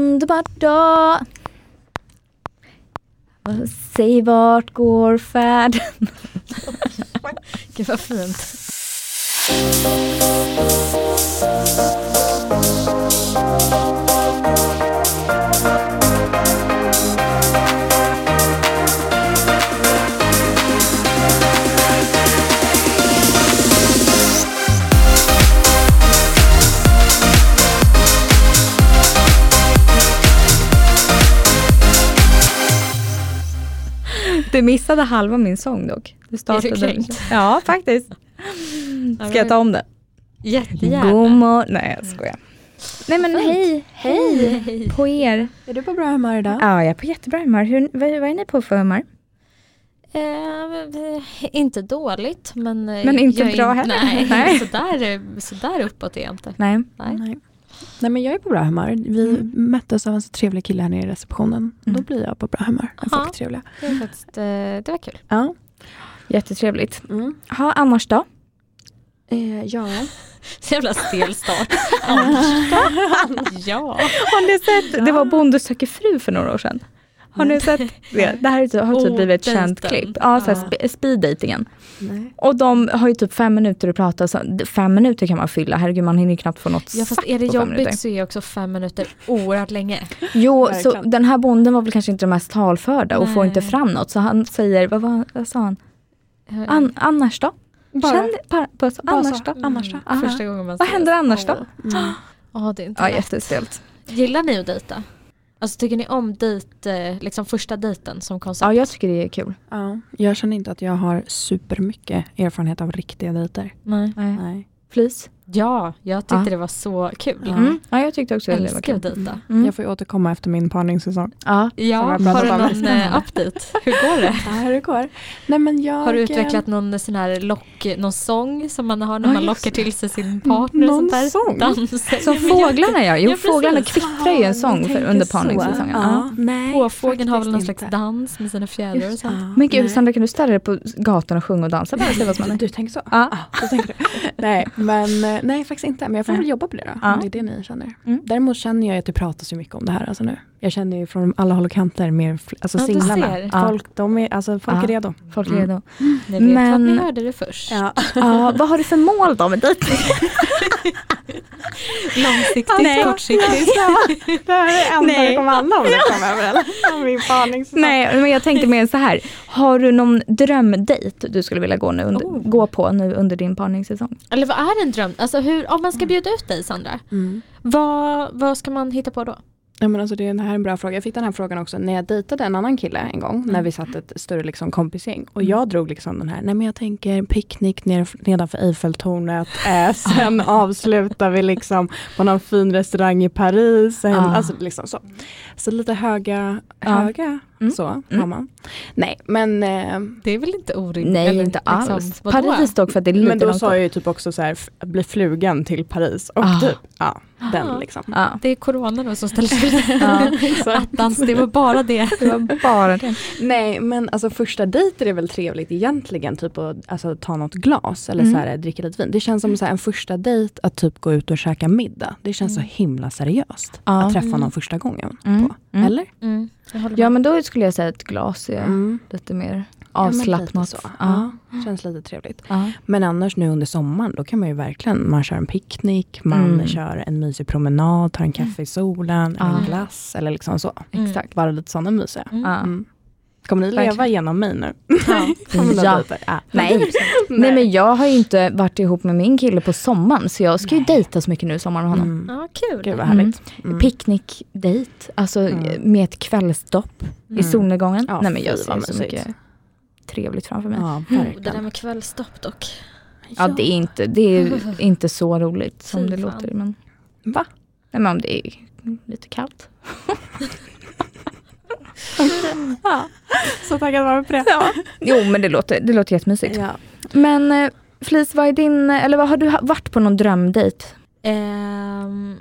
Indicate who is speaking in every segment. Speaker 1: underbar dag. Och Säg vart går färden?
Speaker 2: Gud vad fint.
Speaker 1: Du missade halva min sång dock. Du
Speaker 2: Är du kränkt?
Speaker 1: Ja, faktiskt. Ska jag ta om den?
Speaker 2: Jättegärna.
Speaker 1: God morgon. Nej, jag skojar. Nej men hej, hej på er.
Speaker 3: Är du på bra humör idag?
Speaker 1: Ja, jag är på jättebra humör. Hur, vad, vad är ni på för humör?
Speaker 2: Eh, inte dåligt men... eh,
Speaker 1: Men inte
Speaker 2: jag är
Speaker 1: bra heller.
Speaker 2: Nej,
Speaker 1: Nej.
Speaker 2: Sådär, sådär uppåt är jag inte.
Speaker 1: Nej.
Speaker 2: Nej.
Speaker 3: Nej. Nej men jag är på bra humör. Vi möttes av en så trevlig kille här nere i receptionen. Då blir jag på bra humör. när
Speaker 2: Ja.
Speaker 3: Folk är trevliga.
Speaker 2: Det, är faktiskt, eh, det var kul.
Speaker 3: Ja.
Speaker 1: Jättetrevligt. Ha, annars då?
Speaker 3: Eh, ja.
Speaker 2: Så jävla stel start. Anders. ja.
Speaker 1: Har ni sett, det var Bonde söker fru för några år sedan. Har ni sett det? Det här är typ- har typ
Speaker 2: Oh,
Speaker 1: blivit ett känt
Speaker 2: dejten.
Speaker 1: klipp. Ja, så här,
Speaker 2: Ja.
Speaker 1: spe- speed-datingen.
Speaker 3: Nej.
Speaker 1: Och de har ju typ fem minuter att prata. Så fem minuter kan man fylla, herregud man hinner ju knappt få något
Speaker 2: ja fast
Speaker 1: sagt
Speaker 2: är det
Speaker 1: på fem minuter.
Speaker 2: jobbigt så är också fem minuter oerhört länge.
Speaker 1: Jo, så
Speaker 3: Verkligen.
Speaker 1: den här bonden var väl kanske inte den mest talförda och får
Speaker 2: Nej.
Speaker 1: inte fram något. Så han säger, vad, var- vad sa han?
Speaker 2: Eh,
Speaker 1: An, annars då?
Speaker 3: Bara.
Speaker 1: Känn, bara, bara, så,
Speaker 3: Bara
Speaker 1: annars
Speaker 3: så.
Speaker 1: då?
Speaker 3: Annars då?
Speaker 1: Aha.
Speaker 2: Första gången man
Speaker 1: Vad
Speaker 2: ses.
Speaker 1: händer annars då?
Speaker 2: Mm. Åh.
Speaker 3: Mm.
Speaker 2: Ja, det är inte
Speaker 1: Ja,
Speaker 2: lätt.
Speaker 1: jättestelt.
Speaker 2: Gillar ni att dejta? Alltså tycker ni om dejt, eh, liksom första dejten som koncept?
Speaker 1: Ja, jag tycker det är kul.
Speaker 3: Ja. Jag känner inte att jag har supermycket erfarenhet av riktiga dejter.
Speaker 2: Nej.
Speaker 1: Mm.
Speaker 3: Nej.
Speaker 1: Flis.
Speaker 2: Ja, jag tyckte
Speaker 1: Ja.
Speaker 2: det var så kul.
Speaker 3: Ja.
Speaker 1: Mm. Ja, jag tyckte också det var
Speaker 2: Älskar
Speaker 1: kul.
Speaker 2: att dejta.
Speaker 1: Mm.
Speaker 3: Jag får ju återkomma efter min parningssäsong.
Speaker 1: Ja.
Speaker 2: Ja,
Speaker 3: Som jag
Speaker 2: har
Speaker 3: pratade
Speaker 2: du
Speaker 3: om.
Speaker 2: någon eh, update? Hur går det?
Speaker 3: Ja, hur det går. Nej, men jag,
Speaker 2: Har du
Speaker 3: eh,
Speaker 2: utvecklat någon sån här lock, någon sång som man har när
Speaker 1: Ja,
Speaker 2: man
Speaker 1: just
Speaker 2: lockar till sig sin partner? och
Speaker 3: Någon
Speaker 2: sånt där?
Speaker 3: sång?
Speaker 2: Danser.
Speaker 1: Som fåglarna gör. Jo,
Speaker 2: Ja, precis.
Speaker 1: fåglarna kvittrar ju en sång
Speaker 3: Jag
Speaker 1: för
Speaker 3: tänker
Speaker 1: under
Speaker 3: så.
Speaker 1: parningssäsongen. Ja.
Speaker 3: Ja. Nej,
Speaker 2: Påfågeln har väl
Speaker 3: faktiskt
Speaker 2: någon
Speaker 3: inte.
Speaker 2: slags dans med sina fjädrar och sånt.
Speaker 3: Ja,
Speaker 1: Men gud,
Speaker 3: nej.
Speaker 1: Sandra kan du ställa dig på gatan och sjunga och dansa? Bara se vad som händer.
Speaker 3: Du tänker så?
Speaker 1: Ja.
Speaker 3: så tänker du. nej, men, eh, nej, faktiskt inte. Men jag får väl jobba på det då.
Speaker 1: Ja.
Speaker 3: Om det är det ni känner.
Speaker 1: Mm.
Speaker 3: Däremot känner jag att det pratas ju mycket om det här alltså nu. Jag känner ju från alla håll och kanter, mer, fl- alltså
Speaker 2: Ja, du
Speaker 3: singlarna.
Speaker 2: ser.
Speaker 3: Folk, de är, alltså, folk
Speaker 1: Ja.
Speaker 3: är redo.
Speaker 1: Folk är
Speaker 3: Mm.
Speaker 1: redo.
Speaker 2: Ni vet
Speaker 1: Men-
Speaker 2: att ni hörde det först.
Speaker 3: Ja.
Speaker 1: Ja, vad har du för mål då med dejting?
Speaker 2: Långsiktigt,
Speaker 1: Nej.
Speaker 2: kortsiktigt.
Speaker 3: Det här är det enda
Speaker 1: Nej.
Speaker 3: det kommer handla om när jag kommer över eller? Om Min parningssäsong.
Speaker 1: Nej, men jag tänkte mer så här. Har du någon drömdejt du skulle vilja gå, nu under,
Speaker 2: Oh.
Speaker 1: gå på nu under din parningssäsong?
Speaker 2: Eller vad är en dröm? Alltså hur, om man ska bjuda ut dig Sandra,
Speaker 3: Mm.
Speaker 2: vad, vad ska man hitta på då?
Speaker 3: Ja, men alltså det, det här är en bra fråga. Jag fick den här frågan också när jag dejtade en annan kille en gång.
Speaker 1: Mm.
Speaker 3: När vi satt ett större liksom, kompisgäng. Och jag drog liksom den här, nej men jag tänker picknick ner, nedanför Eiffeltornet. Eh, sen avslutar vi liksom på någon fin restaurang i Paris. Sen,
Speaker 1: Ah.
Speaker 3: alltså, liksom så. så lite höga,
Speaker 1: Ja.
Speaker 3: höga
Speaker 1: Mm.
Speaker 3: så har
Speaker 1: Mm.
Speaker 3: man. Nej men, eh,
Speaker 2: Det är väl inte orimligt?
Speaker 1: Nej,
Speaker 2: Eller
Speaker 1: inte
Speaker 2: liksom,
Speaker 1: alls.
Speaker 2: vadå?
Speaker 1: Paris dock för att det är lite
Speaker 3: men då
Speaker 1: långt
Speaker 3: sa
Speaker 1: bort.
Speaker 3: jag ju typ också så här, f- bli flugen till Paris. Och
Speaker 1: Ah.
Speaker 3: typ, ja,
Speaker 2: Ah.
Speaker 3: den liksom.
Speaker 1: Ja.
Speaker 2: Det är corona då som ställer till det.
Speaker 1: Ja.
Speaker 2: Attans, det var bara det.
Speaker 1: Det var bara det.
Speaker 3: Nej men alltså första dejter är väl trevligt egentligen, typ att alltså, ta något glas eller
Speaker 1: Mm.
Speaker 3: så här, dricka lite vin. Det känns som så här, en första dejt att typ gå ut och käka middag. Det känns så himla seriöst
Speaker 1: Mm. Ja.
Speaker 3: att träffa
Speaker 2: Mm.
Speaker 3: någon första gången.
Speaker 1: Mm.
Speaker 3: På.
Speaker 1: Mm.
Speaker 3: Eller?
Speaker 2: Mm, jag håller
Speaker 1: Ja,
Speaker 2: med.
Speaker 1: men då skulle jag säga ett glas är
Speaker 3: Mm.
Speaker 1: lite mer
Speaker 3: Ja, men lite
Speaker 1: avslappnat.
Speaker 3: så.
Speaker 1: Ja.
Speaker 3: Ja. känns lite trevligt.
Speaker 1: Ja.
Speaker 3: Men annars nu under sommaren, då kan man ju verkligen, man kör en picknick, man
Speaker 1: Mm.
Speaker 3: kör en mysig promenad, tar en kaffe i solen, eller en
Speaker 1: Ja.
Speaker 3: glass eller liksom så.
Speaker 2: Mm.
Speaker 1: Exakt.
Speaker 3: Bara lite sådana mysiga.
Speaker 2: Mm.
Speaker 1: Ja.
Speaker 3: Mm. Kommer ni leva
Speaker 1: Verkligen.
Speaker 3: genom mig nu?
Speaker 2: Ja.
Speaker 3: På mina
Speaker 1: Ja.
Speaker 3: dejter? Ja.
Speaker 1: Nej. Nej men jag har ju inte varit ihop med min kille på sommaren så jag ska ju dejta så mycket nu i sommar med honom.
Speaker 3: Mm.
Speaker 2: Ja, kul.
Speaker 3: Gud vad
Speaker 1: Mm.
Speaker 3: härligt. Mm.
Speaker 1: Picknickdejt, alltså
Speaker 3: Mm.
Speaker 1: med ett kvällsdopp i solnedgången.
Speaker 3: Ja,
Speaker 1: Nej men
Speaker 3: fy,
Speaker 1: jag ser
Speaker 3: vad
Speaker 1: så
Speaker 3: mysigt.
Speaker 1: mycket Mm. trevligt framför mig. Ja,
Speaker 3: Ja,
Speaker 2: Oh, det där
Speaker 3: verkligen.
Speaker 2: med kvällsstopp dock.
Speaker 1: det, är inte, det är inte så roligt som
Speaker 2: Fy
Speaker 1: det
Speaker 2: fan.
Speaker 1: låter. Men,
Speaker 3: Va?
Speaker 1: nej men om det är lite kallt.
Speaker 3: Så taggad var jag på det.
Speaker 1: Ja. Jo men det låter, det låter jättemysigt.
Speaker 3: Ja.
Speaker 1: Men eh, Flis, vad är din, eller vad har du ha- varit på någon drömdejt?
Speaker 2: Ehm,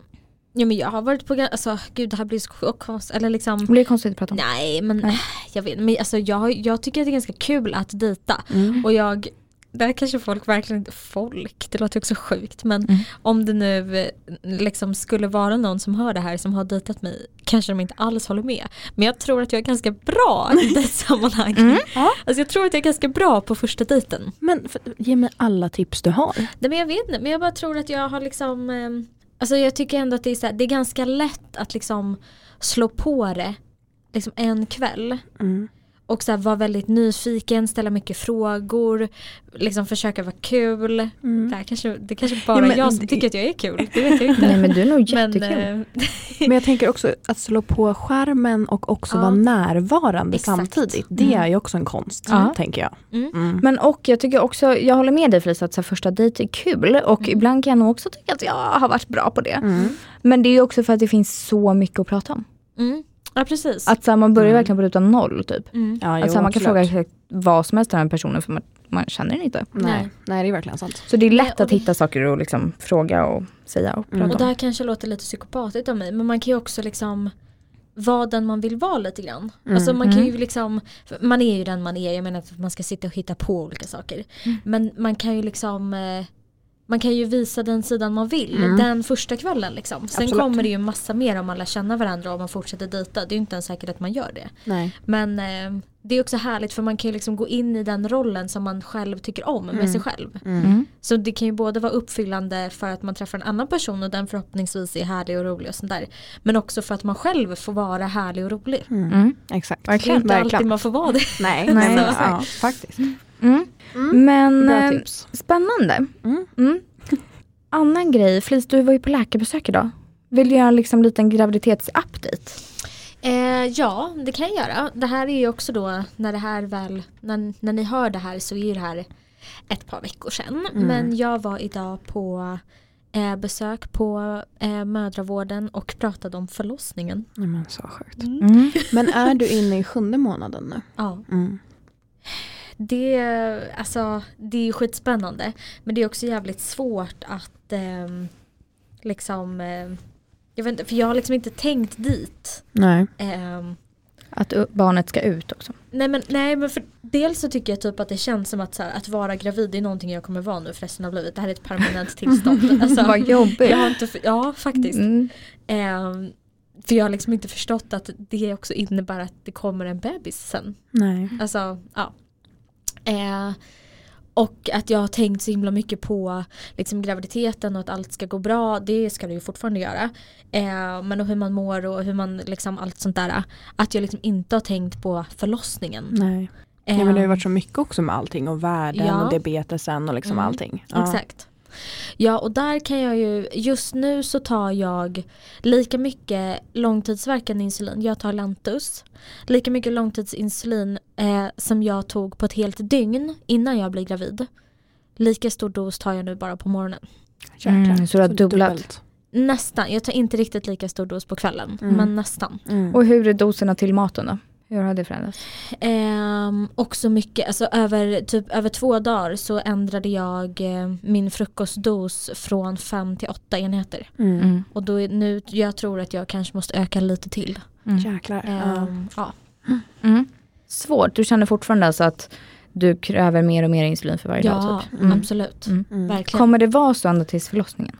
Speaker 2: ja, men jag har varit på, gan- alltså gud det här blir så konstigt. Eller liksom,
Speaker 1: Det blir konstigt att prata om.
Speaker 2: nej men
Speaker 1: Mm. Nej. Mm.
Speaker 2: jag vet men alltså, jag, jag tycker att det är ganska kul att dejta. Och jag där kanske folk verkligen inte, folk, det låter ju också sjukt men
Speaker 1: Mm.
Speaker 2: om det nu eh, liksom skulle vara någon som hör det här som har dejtat mig kanske de inte alls håller med. Men jag tror att jag är ganska bra i det sammanhanget.
Speaker 1: Mm.
Speaker 3: Ja.
Speaker 2: Alltså jag tror att jag är ganska bra på första dejten.
Speaker 3: Men för, ge mig alla tips du har.
Speaker 2: Nej men jag vet inte, men jag bara tror att jag har liksom ehm, Alltså jag tycker ändå att det är, så här, det är ganska lätt att liksom slå på det liksom en kväll
Speaker 1: Mm.
Speaker 2: och så här, vara väldigt nyfiken, ställa mycket frågor, liksom försöka vara kul. Det, här kanske, det kanske bara
Speaker 3: Mm. Ja, men-
Speaker 2: jag som tycker att jag är kul, det vet jag inte.
Speaker 1: Nej men du är nog jättekul.
Speaker 2: eh,
Speaker 3: Men jag tänker också att slå på skärmen och också
Speaker 2: Ja.
Speaker 3: vara närvarande
Speaker 2: Exakt.
Speaker 3: samtidigt. Det är ju också en konst,
Speaker 1: Mm. Ja.
Speaker 3: tänker jag.
Speaker 2: Mm.
Speaker 1: Men och jag tycker också, jag håller med dig Felicia att så här, första dejt är kul och ibland kan jag nog också tycka att jag har varit bra på det. Men det är ju också för att det finns så mycket att prata om.
Speaker 2: mm. Ja precis.
Speaker 1: Att så här, man börjar
Speaker 3: Mm.
Speaker 1: verkligen på ruta noll typ.
Speaker 2: mm.
Speaker 3: Ja,
Speaker 1: att,
Speaker 3: jo,
Speaker 1: så här, man kan
Speaker 3: absolut.
Speaker 1: fråga exakt vad som helst av den personen för man, man känner den inte.
Speaker 3: Nej.
Speaker 2: Nej.
Speaker 3: Nej, det är verkligen sant.
Speaker 1: Så det är
Speaker 2: Nej,
Speaker 1: lätt
Speaker 2: och
Speaker 1: att
Speaker 2: det-
Speaker 1: hitta saker och liksom fråga och säga och prata
Speaker 3: Mm.
Speaker 2: Och
Speaker 1: om.
Speaker 2: det här kanske låter lite psykopatiskt av mig men man kan ju också liksom vara den man vill vara lite grann.
Speaker 3: Mm.
Speaker 2: Alltså man kan ju
Speaker 1: Mm.
Speaker 2: liksom, för man är ju den man är, jag menar inte att man ska sitta och hitta på olika saker.
Speaker 3: Mm.
Speaker 2: Men man kan ju liksom eh, man kan ju visa den sidan man vill
Speaker 3: Mm.
Speaker 2: den första kvällen liksom. Sen
Speaker 3: Absolut.
Speaker 2: kommer det ju massa mer om man lär känna varandra och man fortsätter dejta. Det är ju inte ens säkert att man gör det.
Speaker 3: Nej.
Speaker 2: Men eh, det är också härligt för man kan ju liksom gå in i den rollen som man själv tycker om med
Speaker 3: Mm.
Speaker 2: sig själv.
Speaker 1: Mm.
Speaker 2: Så det kan ju både vara uppfyllande för att man träffar en annan person och den förhoppningsvis är härlig och rolig och sånt där. Men också för att man själv får vara härlig och rolig.
Speaker 3: Mm.
Speaker 1: Mm.
Speaker 3: Exakt.
Speaker 2: Det är
Speaker 1: Verkligen.
Speaker 2: inte alltid man får vara det.
Speaker 3: Nej,
Speaker 1: Nej,
Speaker 3: men-
Speaker 1: exakt.
Speaker 3: Ja, faktiskt.
Speaker 1: Mm.
Speaker 3: Mm.
Speaker 1: Men
Speaker 3: Bra
Speaker 1: eh,
Speaker 3: tips.
Speaker 1: spännande.
Speaker 3: Mm.
Speaker 1: Mm. Annan grej, Felicia du var ju på läkarbesök idag. Vill du göra en liksom liten graviditetsupdate?
Speaker 2: Eh, ja, det kan jag göra. Det här är ju också då när det här väl, när, när ni hör det här så är ju det här ett par veckor sedan.
Speaker 3: Mm.
Speaker 2: Men jag var idag på eh, besök på eh, mödravården och pratade om förlossningen.
Speaker 3: Nej, men så sjukt.
Speaker 1: Mm.
Speaker 3: Men är du inne i sjunde månaden nu?
Speaker 2: Ja,
Speaker 3: Mm.
Speaker 2: det, alltså, det är ju skitspännande. Men det är också jävligt svårt att ehm, liksom, eh, jag vet inte, för jag har liksom inte tänkt dit.
Speaker 3: Nej.
Speaker 2: Ehm,
Speaker 1: Att u- barnet ska ut också.
Speaker 2: Nej men, nej men för dels så tycker jag typ att det känns som att, så här, att vara gravid är någonting jag kommer vara nu för resten av livet. Det här är ett permanent tillstånd. Alltså,
Speaker 1: Vad jobbigt.
Speaker 2: jag har inte, för- ja faktiskt.
Speaker 1: Mm.
Speaker 2: Ehm, för jag har liksom inte förstått att det också innebär att det kommer en bebis sen.
Speaker 3: Nej.
Speaker 2: Alltså, ja. Eh, och att jag har tänkt så himla mycket på liksom, graviditeten och att allt ska gå bra. Det ska det ju fortfarande göra. Eh, men och hur man mår och hur man liksom allt sånt där. Att jag liksom inte har tänkt på förlossningen.
Speaker 3: Nej. Ja, men det har ju
Speaker 2: Ehm,
Speaker 3: varit så mycket också med allting och världen
Speaker 2: Ja.
Speaker 3: och diabetesen och liksom
Speaker 2: Mm.
Speaker 3: allting. Ja.
Speaker 2: Exakt. Ja och där kan jag ju, just nu så tar jag lika mycket långtidsverkande insulin, jag tar Lantus, lika mycket långtidsinsulin eh, som jag tog på ett helt dygn innan jag blev gravid. Lika stor dos tar jag nu bara på morgonen.
Speaker 3: Jäklar.
Speaker 1: Mm, så du har dubblat.
Speaker 3: dubbelt.
Speaker 2: Nästan, jag tar inte riktigt lika stor dos på kvällen,
Speaker 3: Mm.
Speaker 2: men nästan.
Speaker 3: Mm.
Speaker 1: Och hur är doserna till maten då? Hur har det förändrats?
Speaker 2: Ehm, också mycket, alltså över, typ, över två dagar så ändrade jag eh, min frukostdos från fem till åtta enheter.
Speaker 3: Mm.
Speaker 1: Mm.
Speaker 2: Och då är, nu, jag tror att jag kanske måste öka lite till.
Speaker 3: Jäklar. Ja.
Speaker 2: Ehm, ja.
Speaker 1: Mm. Svårt, du känner fortfarande alltså att du kräver mer och mer insulin för varje dag?
Speaker 2: ja,
Speaker 1: Typ. Mm.
Speaker 2: absolut.
Speaker 1: Mm.
Speaker 3: Mm.
Speaker 2: Verkligen.
Speaker 1: Kommer det vara så ända tills förlossningen?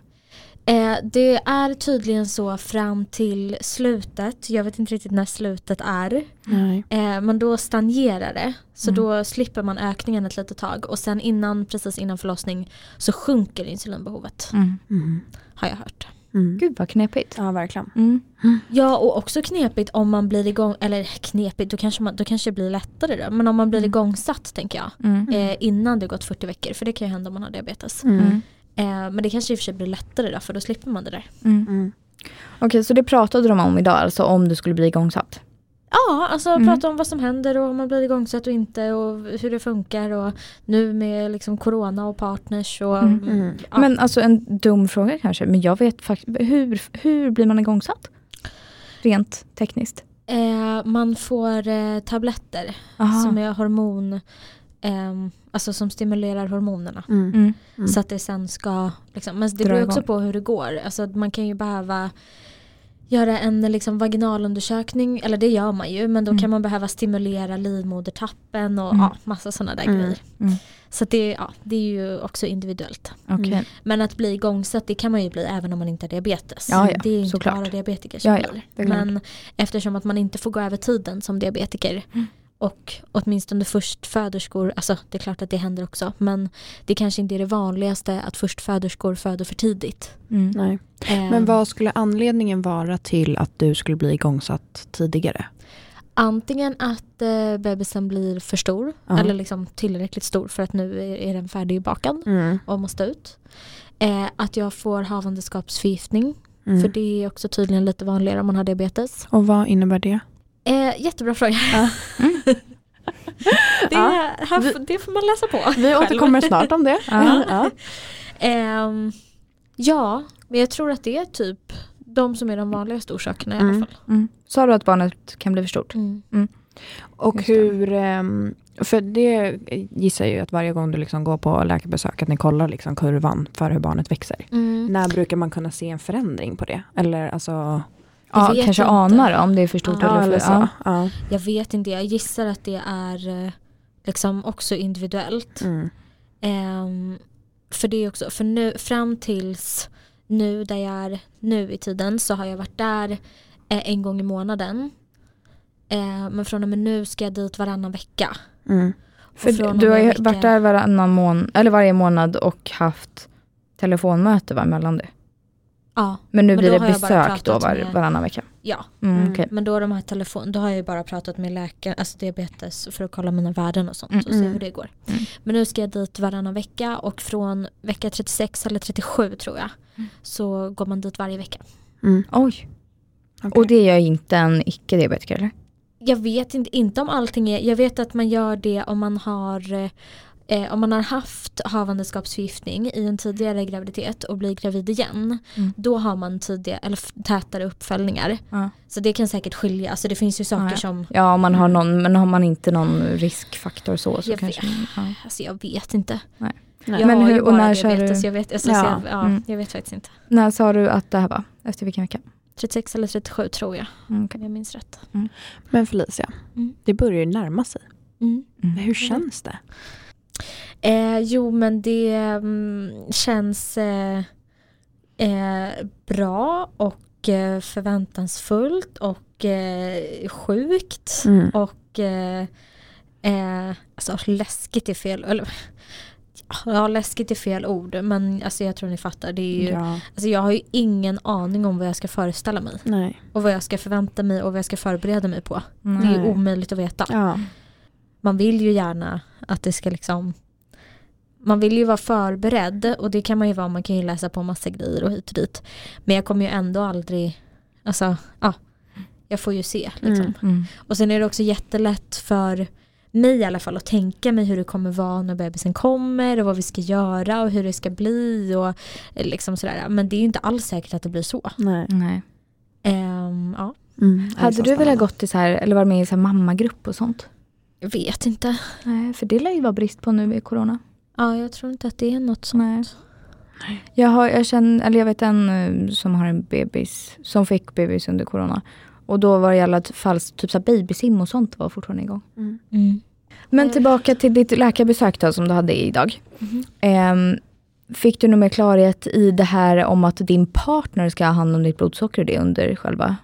Speaker 2: Eh, det är tydligen så fram till slutet, jag vet inte riktigt när slutet är.
Speaker 3: Nej.
Speaker 2: Eh, men då stagnerar det, så
Speaker 1: Mm.
Speaker 2: då slipper man ökningen ett litet tag. Och sen innan, precis innan förlossning så sjunker insulinbehovet,
Speaker 3: Mm.
Speaker 2: har jag hört.
Speaker 3: Mm.
Speaker 1: Gud vad knepigt.
Speaker 3: Ja, verkligen.
Speaker 1: Mm.
Speaker 2: Ja och också knepigt om man blir igång, eller knepigt, då kanske, man, då kanske det blir lättare då. Men om man blir
Speaker 1: Mm.
Speaker 2: igångsatt tänker jag.
Speaker 1: Mm.
Speaker 2: Eh, innan det gått 40 veckor, för det kan ju hända om man har diabetes.
Speaker 1: Mm.
Speaker 2: Eh, men det kanske i och för sig blir lättare då för då slipper man det där.
Speaker 1: Mm.
Speaker 3: Mm.
Speaker 1: Okej, så det pratade de om idag, alltså om du skulle bli igångsatt?
Speaker 2: Ja, alltså
Speaker 1: Mm.
Speaker 2: prata om vad som händer och om man blir igångsatt och inte och hur det funkar och nu med liksom corona och partners och
Speaker 1: Mm.
Speaker 3: Mm.
Speaker 2: Ja.
Speaker 1: Men alltså en dum fråga kanske, men jag vet faktiskt, hur, hur blir man igångsatt? Rent tekniskt?
Speaker 2: eh, man får eh, tabletter som är hormon, ehm, alltså som stimulerar hormonerna.
Speaker 3: Mm.
Speaker 1: Mm.
Speaker 3: Mm.
Speaker 2: Så att det sen ska, liksom, men det
Speaker 1: Dra
Speaker 2: beror ju också
Speaker 1: igång.
Speaker 2: på hur det går. Alltså att man kan ju behöva göra en liksom, vaginalundersökning, eller det gör man ju,
Speaker 1: Mm.
Speaker 2: men då kan man behöva stimulera livmodertappen och ja, massa sådana där grejer.
Speaker 1: Mm.
Speaker 2: Så att det, ja, det är ju också individuellt.
Speaker 1: Okej.
Speaker 2: Men att bli igångsatt det kan man ju bli även om man inte har diabetes.
Speaker 1: Ja, ja,
Speaker 2: det är ju inte
Speaker 1: såklart.
Speaker 2: bara diabetiker som
Speaker 1: Ja, ja, det
Speaker 2: blir.
Speaker 1: är klart.
Speaker 2: Men eftersom att man inte får gå över tiden som diabetiker
Speaker 1: Mm.
Speaker 2: och åtminstone förstföderskor, alltså det är klart att det händer också men det kanske inte är det vanligaste att förstföderskor föder för tidigt.
Speaker 1: Mm.
Speaker 3: Nej.
Speaker 2: Eh,
Speaker 3: Men vad skulle anledningen vara till att du skulle bli igångsatt tidigare?
Speaker 2: Antingen att eh, bebisen blir för stor
Speaker 3: Ja.
Speaker 2: eller liksom tillräckligt stor för att nu är, är den färdigbakad
Speaker 3: Mm.
Speaker 2: och måste ut. Eh, att jag får havandeskapsförgiftning
Speaker 3: Mm.
Speaker 2: För det är också tydligen lite vanligare om man har diabetes.
Speaker 3: Och vad innebär det?
Speaker 2: Eh, jättebra fråga. det,
Speaker 3: Ja.
Speaker 2: här, f- det får man läsa på.
Speaker 3: Vi återkommer snart om det.
Speaker 1: Ja.
Speaker 3: Ja.
Speaker 2: Ehm, ja, men jag tror att det är typ de som är de vanligaste orsakerna i
Speaker 3: Mm.
Speaker 2: alla fall.
Speaker 1: Mm. Sa du att barnet kan bli för stort?
Speaker 2: Mm.
Speaker 3: Och
Speaker 1: Just det.
Speaker 3: hur, ehm, för det gissar jag ju att varje gång du liksom går på läkarbesök att ni kollar liksom kurvan för hur barnet växer.
Speaker 2: Mm.
Speaker 3: När brukar man kunna se en förändring på det? Eller alltså,
Speaker 1: Ja,
Speaker 2: vet
Speaker 1: kanske
Speaker 2: inte.
Speaker 1: anar om det är för stort
Speaker 2: Ja,
Speaker 1: eller för...
Speaker 3: så. Ja.
Speaker 2: Jag vet inte, jag gissar att det är eh, liksom också individuellt.
Speaker 3: Mm.
Speaker 2: Ehm, för det är också, för nu, fram tills nu där jag är nu i tiden så har jag varit där eh, en gång i månaden. Eh, men från och med nu ska jag dit varannan vecka.
Speaker 3: Mm.
Speaker 2: Och
Speaker 1: För
Speaker 2: från och
Speaker 1: du- du har
Speaker 2: med
Speaker 1: ju
Speaker 2: vecka-
Speaker 1: varit där varannan mån- eller varje månad och haft telefonmöte va, mellan det.
Speaker 2: Ja,
Speaker 1: Men nu
Speaker 2: Men
Speaker 1: blir
Speaker 2: då
Speaker 1: det
Speaker 2: har jag bara
Speaker 1: besök då
Speaker 2: pratat
Speaker 1: var,
Speaker 2: med-
Speaker 1: varannan vecka.
Speaker 2: ja.
Speaker 1: Mm,
Speaker 3: Mm.
Speaker 1: okej.
Speaker 2: Men då de här telefon, då har jag ju bara pratat med läkaren, alltså diabetes för att kolla mina värden och sånt och se
Speaker 3: Mm.
Speaker 2: hur det går.
Speaker 1: Mm.
Speaker 2: Men nu ska jag dit varannan vecka och från vecka 36 eller 37 tror jag så går man dit varje vecka.
Speaker 3: Mm.
Speaker 1: Oj.
Speaker 3: Okej.
Speaker 1: Och det gör inte en icke-diabetiker eller?
Speaker 2: Jag vet inte, inte om allting är, jag vet att man gör det om man har eh, om man har haft havandeskapsförgiftning i en tidigare graviditet och blir gravid igen
Speaker 1: Mm.
Speaker 2: då har man tidiga, eller f- tätare uppföljningar.
Speaker 1: Ja.
Speaker 2: Så det kan säkert skilja, alltså det finns ju saker
Speaker 1: Ja, ja.
Speaker 2: som
Speaker 1: Ja, om man har någon, men har man inte någon riskfaktor så, så
Speaker 2: Jag
Speaker 1: kanske man,
Speaker 2: Alltså jag vet inte.
Speaker 1: Nej.
Speaker 3: Nej.
Speaker 2: Jag
Speaker 1: Men
Speaker 2: har
Speaker 1: hur-
Speaker 2: ju
Speaker 1: och
Speaker 2: bara
Speaker 1: när kör
Speaker 2: diabetes,
Speaker 1: du?
Speaker 2: jag vet, alltså,
Speaker 3: Ja.
Speaker 2: Så jag, ja,
Speaker 1: Mm.
Speaker 2: jag vet faktiskt inte.
Speaker 1: ja. När sa du att det här var? Efter vilken vecka?
Speaker 2: 36 eller 37 tror jag,
Speaker 1: Mm,
Speaker 2: om
Speaker 1: okej.
Speaker 2: jag minns rätt.
Speaker 3: Men Felicia,
Speaker 2: Mm.
Speaker 3: det börjar ju närma sig.
Speaker 2: Mm.
Speaker 1: Mm.
Speaker 3: Hur känns det?
Speaker 2: Eh, jo men det mm, känns eh, eh, bra och eh, förväntansfullt och eh, sjukt.
Speaker 3: Mm.
Speaker 2: Och eh, eh, alltså läskigt är fel, eller ja läskigt är fel ord men alltså jag tror ni fattar. Det är ju,
Speaker 3: Ja.
Speaker 2: alltså, jag har ju ingen aning om vad jag ska föreställa mig.
Speaker 3: Nej.
Speaker 2: och vad jag ska förvänta mig och vad jag ska förbereda mig på. Det är
Speaker 1: Mm.
Speaker 2: ju omöjligt att veta.
Speaker 3: Ja.
Speaker 2: Man vill ju gärna att det ska liksom man vill ju vara förberedd och det kan man ju vara, man kan ju läsa på massa grejer och hit och dit. Men jag kommer ju ändå aldrig, alltså ja, jag får ju se. Liksom.
Speaker 3: Mm.
Speaker 1: Mm.
Speaker 2: Och sen är det också jättelätt för mig i alla fall att tänka mig hur det kommer vara när bebisen kommer och vad vi ska göra och hur det ska bli och eh, liksom sådär. Men det är ju inte alls säkert att det blir så.
Speaker 3: Nej.
Speaker 1: Nej.
Speaker 2: Ehm, ja,
Speaker 3: Mm. Det är
Speaker 1: Hade
Speaker 3: så
Speaker 1: du velat
Speaker 3: spännande.
Speaker 1: gått i så här, eller varit med i så här mammagrupp och sånt?
Speaker 2: jag vet inte.
Speaker 1: Nej, för det lär ju vara brist på nu i corona.
Speaker 2: Ja, jag tror inte att det är något sånt.
Speaker 1: Nej. Jag, har, jag, känner, eller jag vet en eh, som har en bebis, som fick bebis under corona. Och då var det i alla fall typ så här babysim och sånt var fortfarande igång.
Speaker 3: Mm.
Speaker 1: Men
Speaker 2: Ja.
Speaker 1: tillbaka till ditt läkarbesök då, som du hade idag.
Speaker 2: Mhm.
Speaker 1: Ehm, fick du någon mer klarhet i det här om att din partner ska ha hand om ditt blodsocker och det under själva?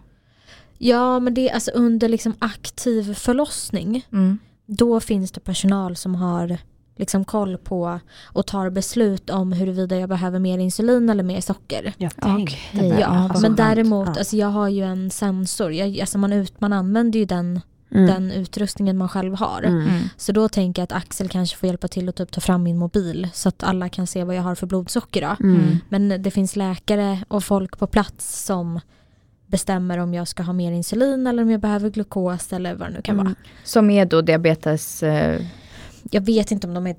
Speaker 2: Ja, men det är alltså under liksom aktiv förlossning.
Speaker 1: Mm.
Speaker 2: Då finns det personal som har liksom koll på och tar beslut om huruvida jag behöver mer insulin eller mer socker.
Speaker 3: Jag tänkte
Speaker 1: Okej,
Speaker 3: väl.
Speaker 1: ja, vad
Speaker 3: vad
Speaker 2: men
Speaker 1: skönt.
Speaker 2: däremot,
Speaker 3: Ja.
Speaker 2: alltså jag har ju en sensor. Jag, alltså man, ut, man använder ju den,
Speaker 3: Mm.
Speaker 2: den utrustningen man själv har.
Speaker 3: Mm.
Speaker 1: Mm.
Speaker 2: Så då tänker jag att Axel kanske får hjälpa till att typ ta fram min mobil så att alla kan se vad jag har för blodsocker. Då.
Speaker 3: Mm.
Speaker 2: Men det finns läkare och folk på plats som bestämmer om jag ska ha mer insulin eller om jag behöver glukos eller vad det nu kan
Speaker 3: Mm.
Speaker 2: vara.
Speaker 1: Som är då diabetes... Eh,
Speaker 2: Jag vet inte om de är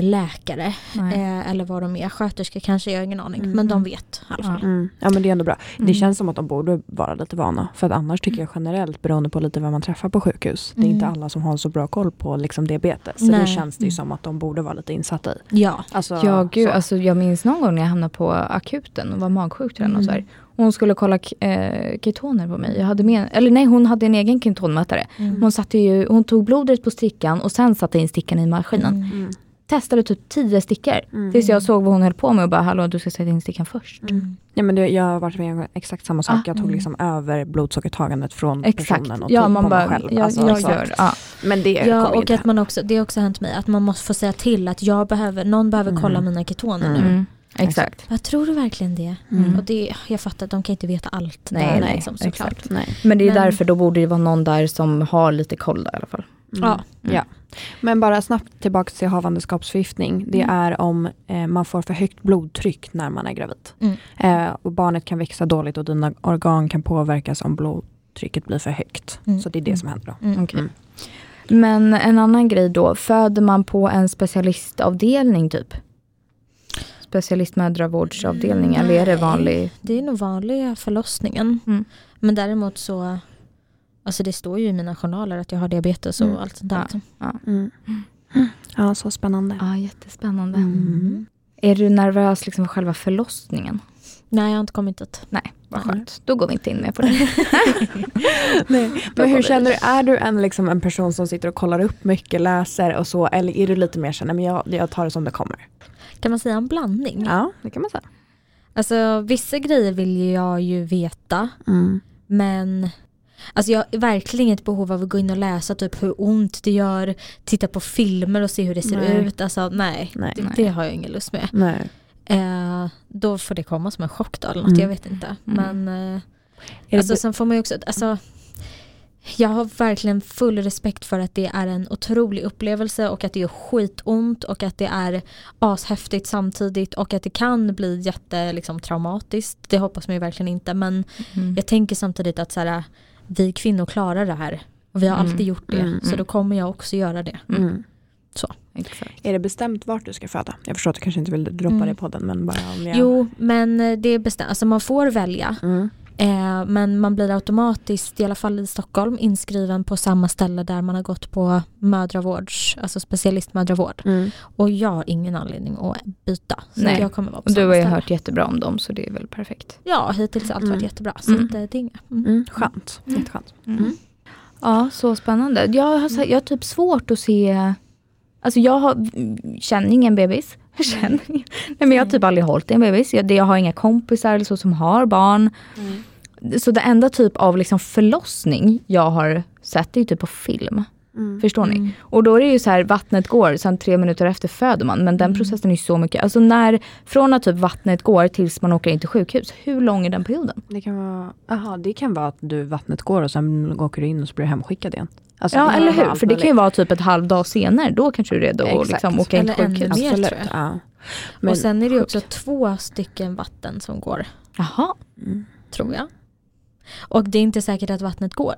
Speaker 2: diabetesläkare
Speaker 1: nej.
Speaker 2: eh, eller vad de är. Sköterska kanske, jag har ingen aning.
Speaker 3: Mm.
Speaker 2: Men de vet i alla fall.
Speaker 1: Ja.
Speaker 3: Mm. Ja men det är ändå bra. Det
Speaker 1: Mm.
Speaker 3: känns som att de borde vara lite vana. För att annars tycker jag generellt, beroende på lite vem man träffar på sjukhus, det är inte
Speaker 2: Mm.
Speaker 3: alla som har så bra koll på liksom, diabetes. Så
Speaker 2: Nej.
Speaker 3: det känns det ju som att de borde vara lite insatta i.
Speaker 2: Ja.
Speaker 3: Alltså,
Speaker 1: Ja, gud,
Speaker 3: så.
Speaker 1: alltså, jag minns någon gång när jag hamnade på akuten och var magsjuk till den och så här. Hon skulle kolla k- eh, ketoner på mig. Jag hade med, eller nej, hon hade en egen ketonmätare.
Speaker 2: Mm.
Speaker 1: Hon, satte ju, hon tog blodret på stickan och sen satte in stickan i maskinen.
Speaker 2: Mm.
Speaker 4: Mm.
Speaker 1: Testade typ tio stickor.
Speaker 4: Mm.
Speaker 1: Tills jag såg vad hon höll på med och bara, hallå du ska sätta in stickan först.
Speaker 2: Mm.
Speaker 3: Ja, men det, jag har varit med om exakt samma sak.
Speaker 1: Ah,
Speaker 3: jag tog
Speaker 2: mm.
Speaker 3: liksom över blodsockertagandet från
Speaker 1: Exakt,
Speaker 3: personen och
Speaker 1: ja
Speaker 3: tog
Speaker 1: man
Speaker 3: på mig
Speaker 1: bara,
Speaker 3: själv.
Speaker 1: jag,
Speaker 3: Alltså,
Speaker 1: jag
Speaker 3: så.
Speaker 1: gör, ja.
Speaker 3: Men det kommer
Speaker 2: Ja
Speaker 3: ju
Speaker 2: och
Speaker 3: inte
Speaker 2: att man också, det har också hänt mig, att man måste få säga till att jag behöver, någon behöver
Speaker 3: Mm.
Speaker 2: kolla mina ketoner
Speaker 3: Mm.
Speaker 2: nu.
Speaker 1: Mm. Exakt.
Speaker 2: Vad tror du verkligen det?
Speaker 1: Mm.
Speaker 2: Och det, jag fattar att de kan inte veta allt.
Speaker 1: Nej,
Speaker 2: där,
Speaker 1: nej,
Speaker 2: liksom,
Speaker 1: exakt.
Speaker 2: såklart.
Speaker 3: Nej.
Speaker 1: Men det är
Speaker 2: Men-
Speaker 1: därför då borde det vara någon där som har lite koll där, i alla fall.
Speaker 3: Mm.
Speaker 2: Ja.
Speaker 3: Men bara snabbt tillbaka till havandeskapsförgiftning. Det
Speaker 2: Mm.
Speaker 3: är om eh, man får för högt blodtryck när man är gravid.
Speaker 2: Mm.
Speaker 3: Eh, och barnet kan växa dåligt och dina organ kan påverkas om blodtrycket blir för högt.
Speaker 2: Mm.
Speaker 3: Så det är det som händer då.
Speaker 2: Mm.
Speaker 1: Okej.
Speaker 3: Mm.
Speaker 1: Men en annan grej då, föder man på en specialistavdelning typ? Specialistmödravårdsavdelning eller är det
Speaker 2: Nej.
Speaker 1: vanlig?
Speaker 2: Det är nog vanliga förlossningen.
Speaker 1: Mm.
Speaker 2: Men däremot så, alltså det står ju i mina journaler att jag har diabetes och
Speaker 3: Mm.
Speaker 2: allt sånt där.
Speaker 1: Ja.
Speaker 2: liksom. Mm.
Speaker 3: Ja, så spännande.
Speaker 1: Ja, jättespännande.
Speaker 3: Mm.
Speaker 1: Är du nervös liksom för själva förlossningen?
Speaker 2: Nej jag har inte kommit dit.
Speaker 1: Vad skönt, då går vi inte in mer på det.
Speaker 3: Men hur känner du, är du en, liksom, en person som sitter och kollar upp mycket, läser och så, eller är du lite mer såhär, "Nej, men jag, jag tar det som det kommer?
Speaker 2: Kan man säga en blandning?
Speaker 3: Ja, det kan man säga.
Speaker 2: Alltså vissa grejer vill ju jag ju veta
Speaker 3: Mm.
Speaker 2: men Alltså jag har verkligen inget behov av att gå in och läsa typ hur ont det gör, titta på filmer och se hur det ser
Speaker 3: Nej.
Speaker 2: ut. Alltså nej,
Speaker 3: Nej.
Speaker 2: Det, det har jag ingen lust med.
Speaker 3: Nej.
Speaker 2: Eh, då får det komma som en chock då, eller något,
Speaker 3: Mm.
Speaker 2: jag vet inte.
Speaker 1: Mm.
Speaker 2: Men eh,
Speaker 3: Är
Speaker 2: Alltså
Speaker 3: det,
Speaker 2: sen får man ju också, alltså, jag har verkligen full respekt för att det är en otrolig upplevelse och att det gör skitont och att det är ashäftigt samtidigt och att det kan bli jätte liksom, traumatiskt. Det hoppas man ju verkligen inte men
Speaker 1: Mm.
Speaker 2: jag tänker samtidigt att så här, vi kvinnor klarar det här och vi har
Speaker 1: Mm,
Speaker 2: alltid gjort det
Speaker 3: mm,
Speaker 2: så
Speaker 3: mm.
Speaker 2: då kommer jag också göra det.
Speaker 3: mm.
Speaker 1: Exakt.
Speaker 3: är det bestämt vart du ska föda? Jag förstår att du kanske inte vill droppa
Speaker 2: Mm.
Speaker 3: det i podden, men bara om jag...
Speaker 2: Jo men det är bestämt, alltså man får välja
Speaker 3: Mm.
Speaker 2: eh, men man blir automatiskt, i alla fall i Stockholm, inskriven på samma ställe där man har gått på mödravårds, alltså specialistmödravård.
Speaker 3: Mm.
Speaker 2: Och jag har ingen anledning att byta. Så
Speaker 1: Nej.
Speaker 2: Nej. jag kommer vara på
Speaker 1: Och du
Speaker 2: samma
Speaker 1: har ju
Speaker 2: ställe.
Speaker 1: hört jättebra om dem så det är väl perfekt.
Speaker 2: Ja, hittills har allt
Speaker 3: Mm.
Speaker 2: varit jättebra. Så
Speaker 1: Mm.
Speaker 2: att, eh, det är inga. Mm.
Speaker 3: Mm. Skönt,
Speaker 1: Mm.
Speaker 3: jätteskönt.
Speaker 1: Mm. Ja, så spännande. Jag har, så- jag har typ svårt att se... Alltså jag har, känner ingen bebis. Jag Känner, ingen- nej men jag har typ aldrig hållit i en bebis. Jag, det- jag har inga kompisar eller så som har barn.
Speaker 3: Mm.
Speaker 1: Så det enda typ av liksom förlossning jag har sett är ju typ på film.
Speaker 3: Mm.
Speaker 1: Förstår ni?
Speaker 2: Mm.
Speaker 1: Och då är det ju så här, vattnet går, sen tre minuter efter föder man. Men den processen är ju så mycket. Alltså när, från att typ vattnet går tills man åker in till sjukhus. Hur lång är den perioden?
Speaker 3: Det kan vara, aha, det kan vara att du vattnet går och sen åker du in och så blir du hemskickad igen. Alltså,
Speaker 1: ja
Speaker 3: det kan
Speaker 1: eller
Speaker 3: vara
Speaker 1: hur?
Speaker 3: allt
Speaker 1: För det kan ju
Speaker 3: möjligt.
Speaker 1: vara typ ett halvdag senare. Då kanske du är redo att
Speaker 3: Exakt.
Speaker 1: liksom åka in till
Speaker 2: Eller ännu
Speaker 1: sjukhus.
Speaker 2: mer,
Speaker 3: Absolut,
Speaker 2: tror jag.
Speaker 3: Ja.
Speaker 2: Och sen är det ju också två stycken vatten som går,
Speaker 1: Jaha.
Speaker 3: Mm.
Speaker 2: tror jag. Och det är inte säkert att vattnet går.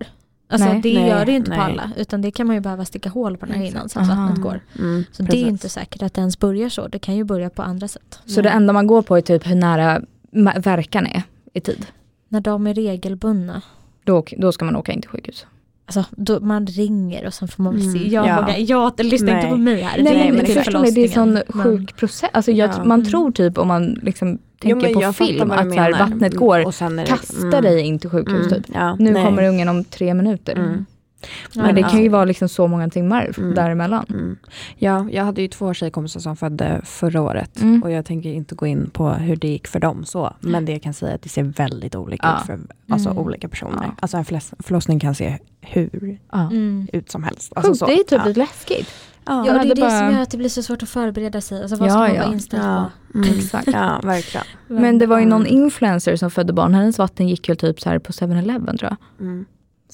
Speaker 2: Alltså
Speaker 1: Nej.
Speaker 2: det
Speaker 3: Nej,
Speaker 2: gör det ju inte på
Speaker 3: nej.
Speaker 2: alla utan det kan man ju behöva sticka hål på den här innan så att
Speaker 1: Aha.
Speaker 2: vattnet går.
Speaker 3: Mm,
Speaker 2: Så det är
Speaker 3: precis.
Speaker 2: ju inte säkert att det ens börjar så, det kan ju börja på andra sätt.
Speaker 1: Så det enda man går på är typ hur nära ma- verkan är i tid.
Speaker 2: När de är regelbundna,
Speaker 1: Då, åk- då ska man åka in till sjukhus.
Speaker 2: alltså, då, man ringer och sen får man väl se.
Speaker 3: Mm.
Speaker 2: Jag,
Speaker 3: Ja.
Speaker 2: vågar, jag lyssnar
Speaker 3: Nej.
Speaker 2: inte på mig här.
Speaker 1: Nej,
Speaker 3: Nej,
Speaker 1: men,
Speaker 3: men det är typ
Speaker 1: förstår ni, det är sån
Speaker 2: förlossningen. Men-
Speaker 1: sjuk process. Alltså jag,
Speaker 3: Ja.
Speaker 1: Man
Speaker 2: Mm.
Speaker 1: tror typ om man liksom tänker
Speaker 3: men
Speaker 1: på
Speaker 3: jag fattar
Speaker 1: film
Speaker 3: vad du
Speaker 1: att så här,
Speaker 3: menar.
Speaker 1: vattnet går,
Speaker 3: Och sen är det-
Speaker 1: kasta
Speaker 3: mm,
Speaker 1: dig in till sjukhus
Speaker 3: mm,
Speaker 1: typ.
Speaker 3: Ja,
Speaker 1: Nu
Speaker 3: nej.
Speaker 1: kommer ungen om tre minuter.
Speaker 3: Mm.
Speaker 1: Men
Speaker 3: Men
Speaker 1: det
Speaker 3: ja.
Speaker 1: kan ju vara liksom så många timmar f-
Speaker 3: Mm.
Speaker 1: däremellan.
Speaker 3: Mm. Ja, jag hade ju två tjejkompisar som födde förra året
Speaker 1: Mm.
Speaker 3: och jag tänker inte gå in på hur det gick för dem så, men det jag kan säga är att det ser väldigt olika
Speaker 1: Ja.
Speaker 3: ut för alltså,
Speaker 2: Mm.
Speaker 3: olika personer.
Speaker 1: Ja.
Speaker 3: Alltså en förloss- förlossning kan se hur
Speaker 1: Ja.
Speaker 2: Mm.
Speaker 3: ut som helst. Alltså,
Speaker 1: Sjukt,
Speaker 3: så.
Speaker 1: det är typ
Speaker 3: Ja.
Speaker 1: lite läskigt.
Speaker 3: Ja.
Speaker 2: Ja, det
Speaker 1: hade
Speaker 2: är det
Speaker 1: bara-
Speaker 2: som gör att det blir så svårt att förbereda sig. Alltså, vad
Speaker 1: Ja,
Speaker 2: ska man
Speaker 1: ja.
Speaker 2: vara inställd
Speaker 3: Ja. Mm.
Speaker 1: Exakt.
Speaker 3: ja, verkligen.
Speaker 2: på?
Speaker 1: Men det var ju någon
Speaker 3: Mm.
Speaker 1: influencer som födde barn, hennes vatten gick ju typ så här på 7-Eleven tror jag.
Speaker 3: Mm.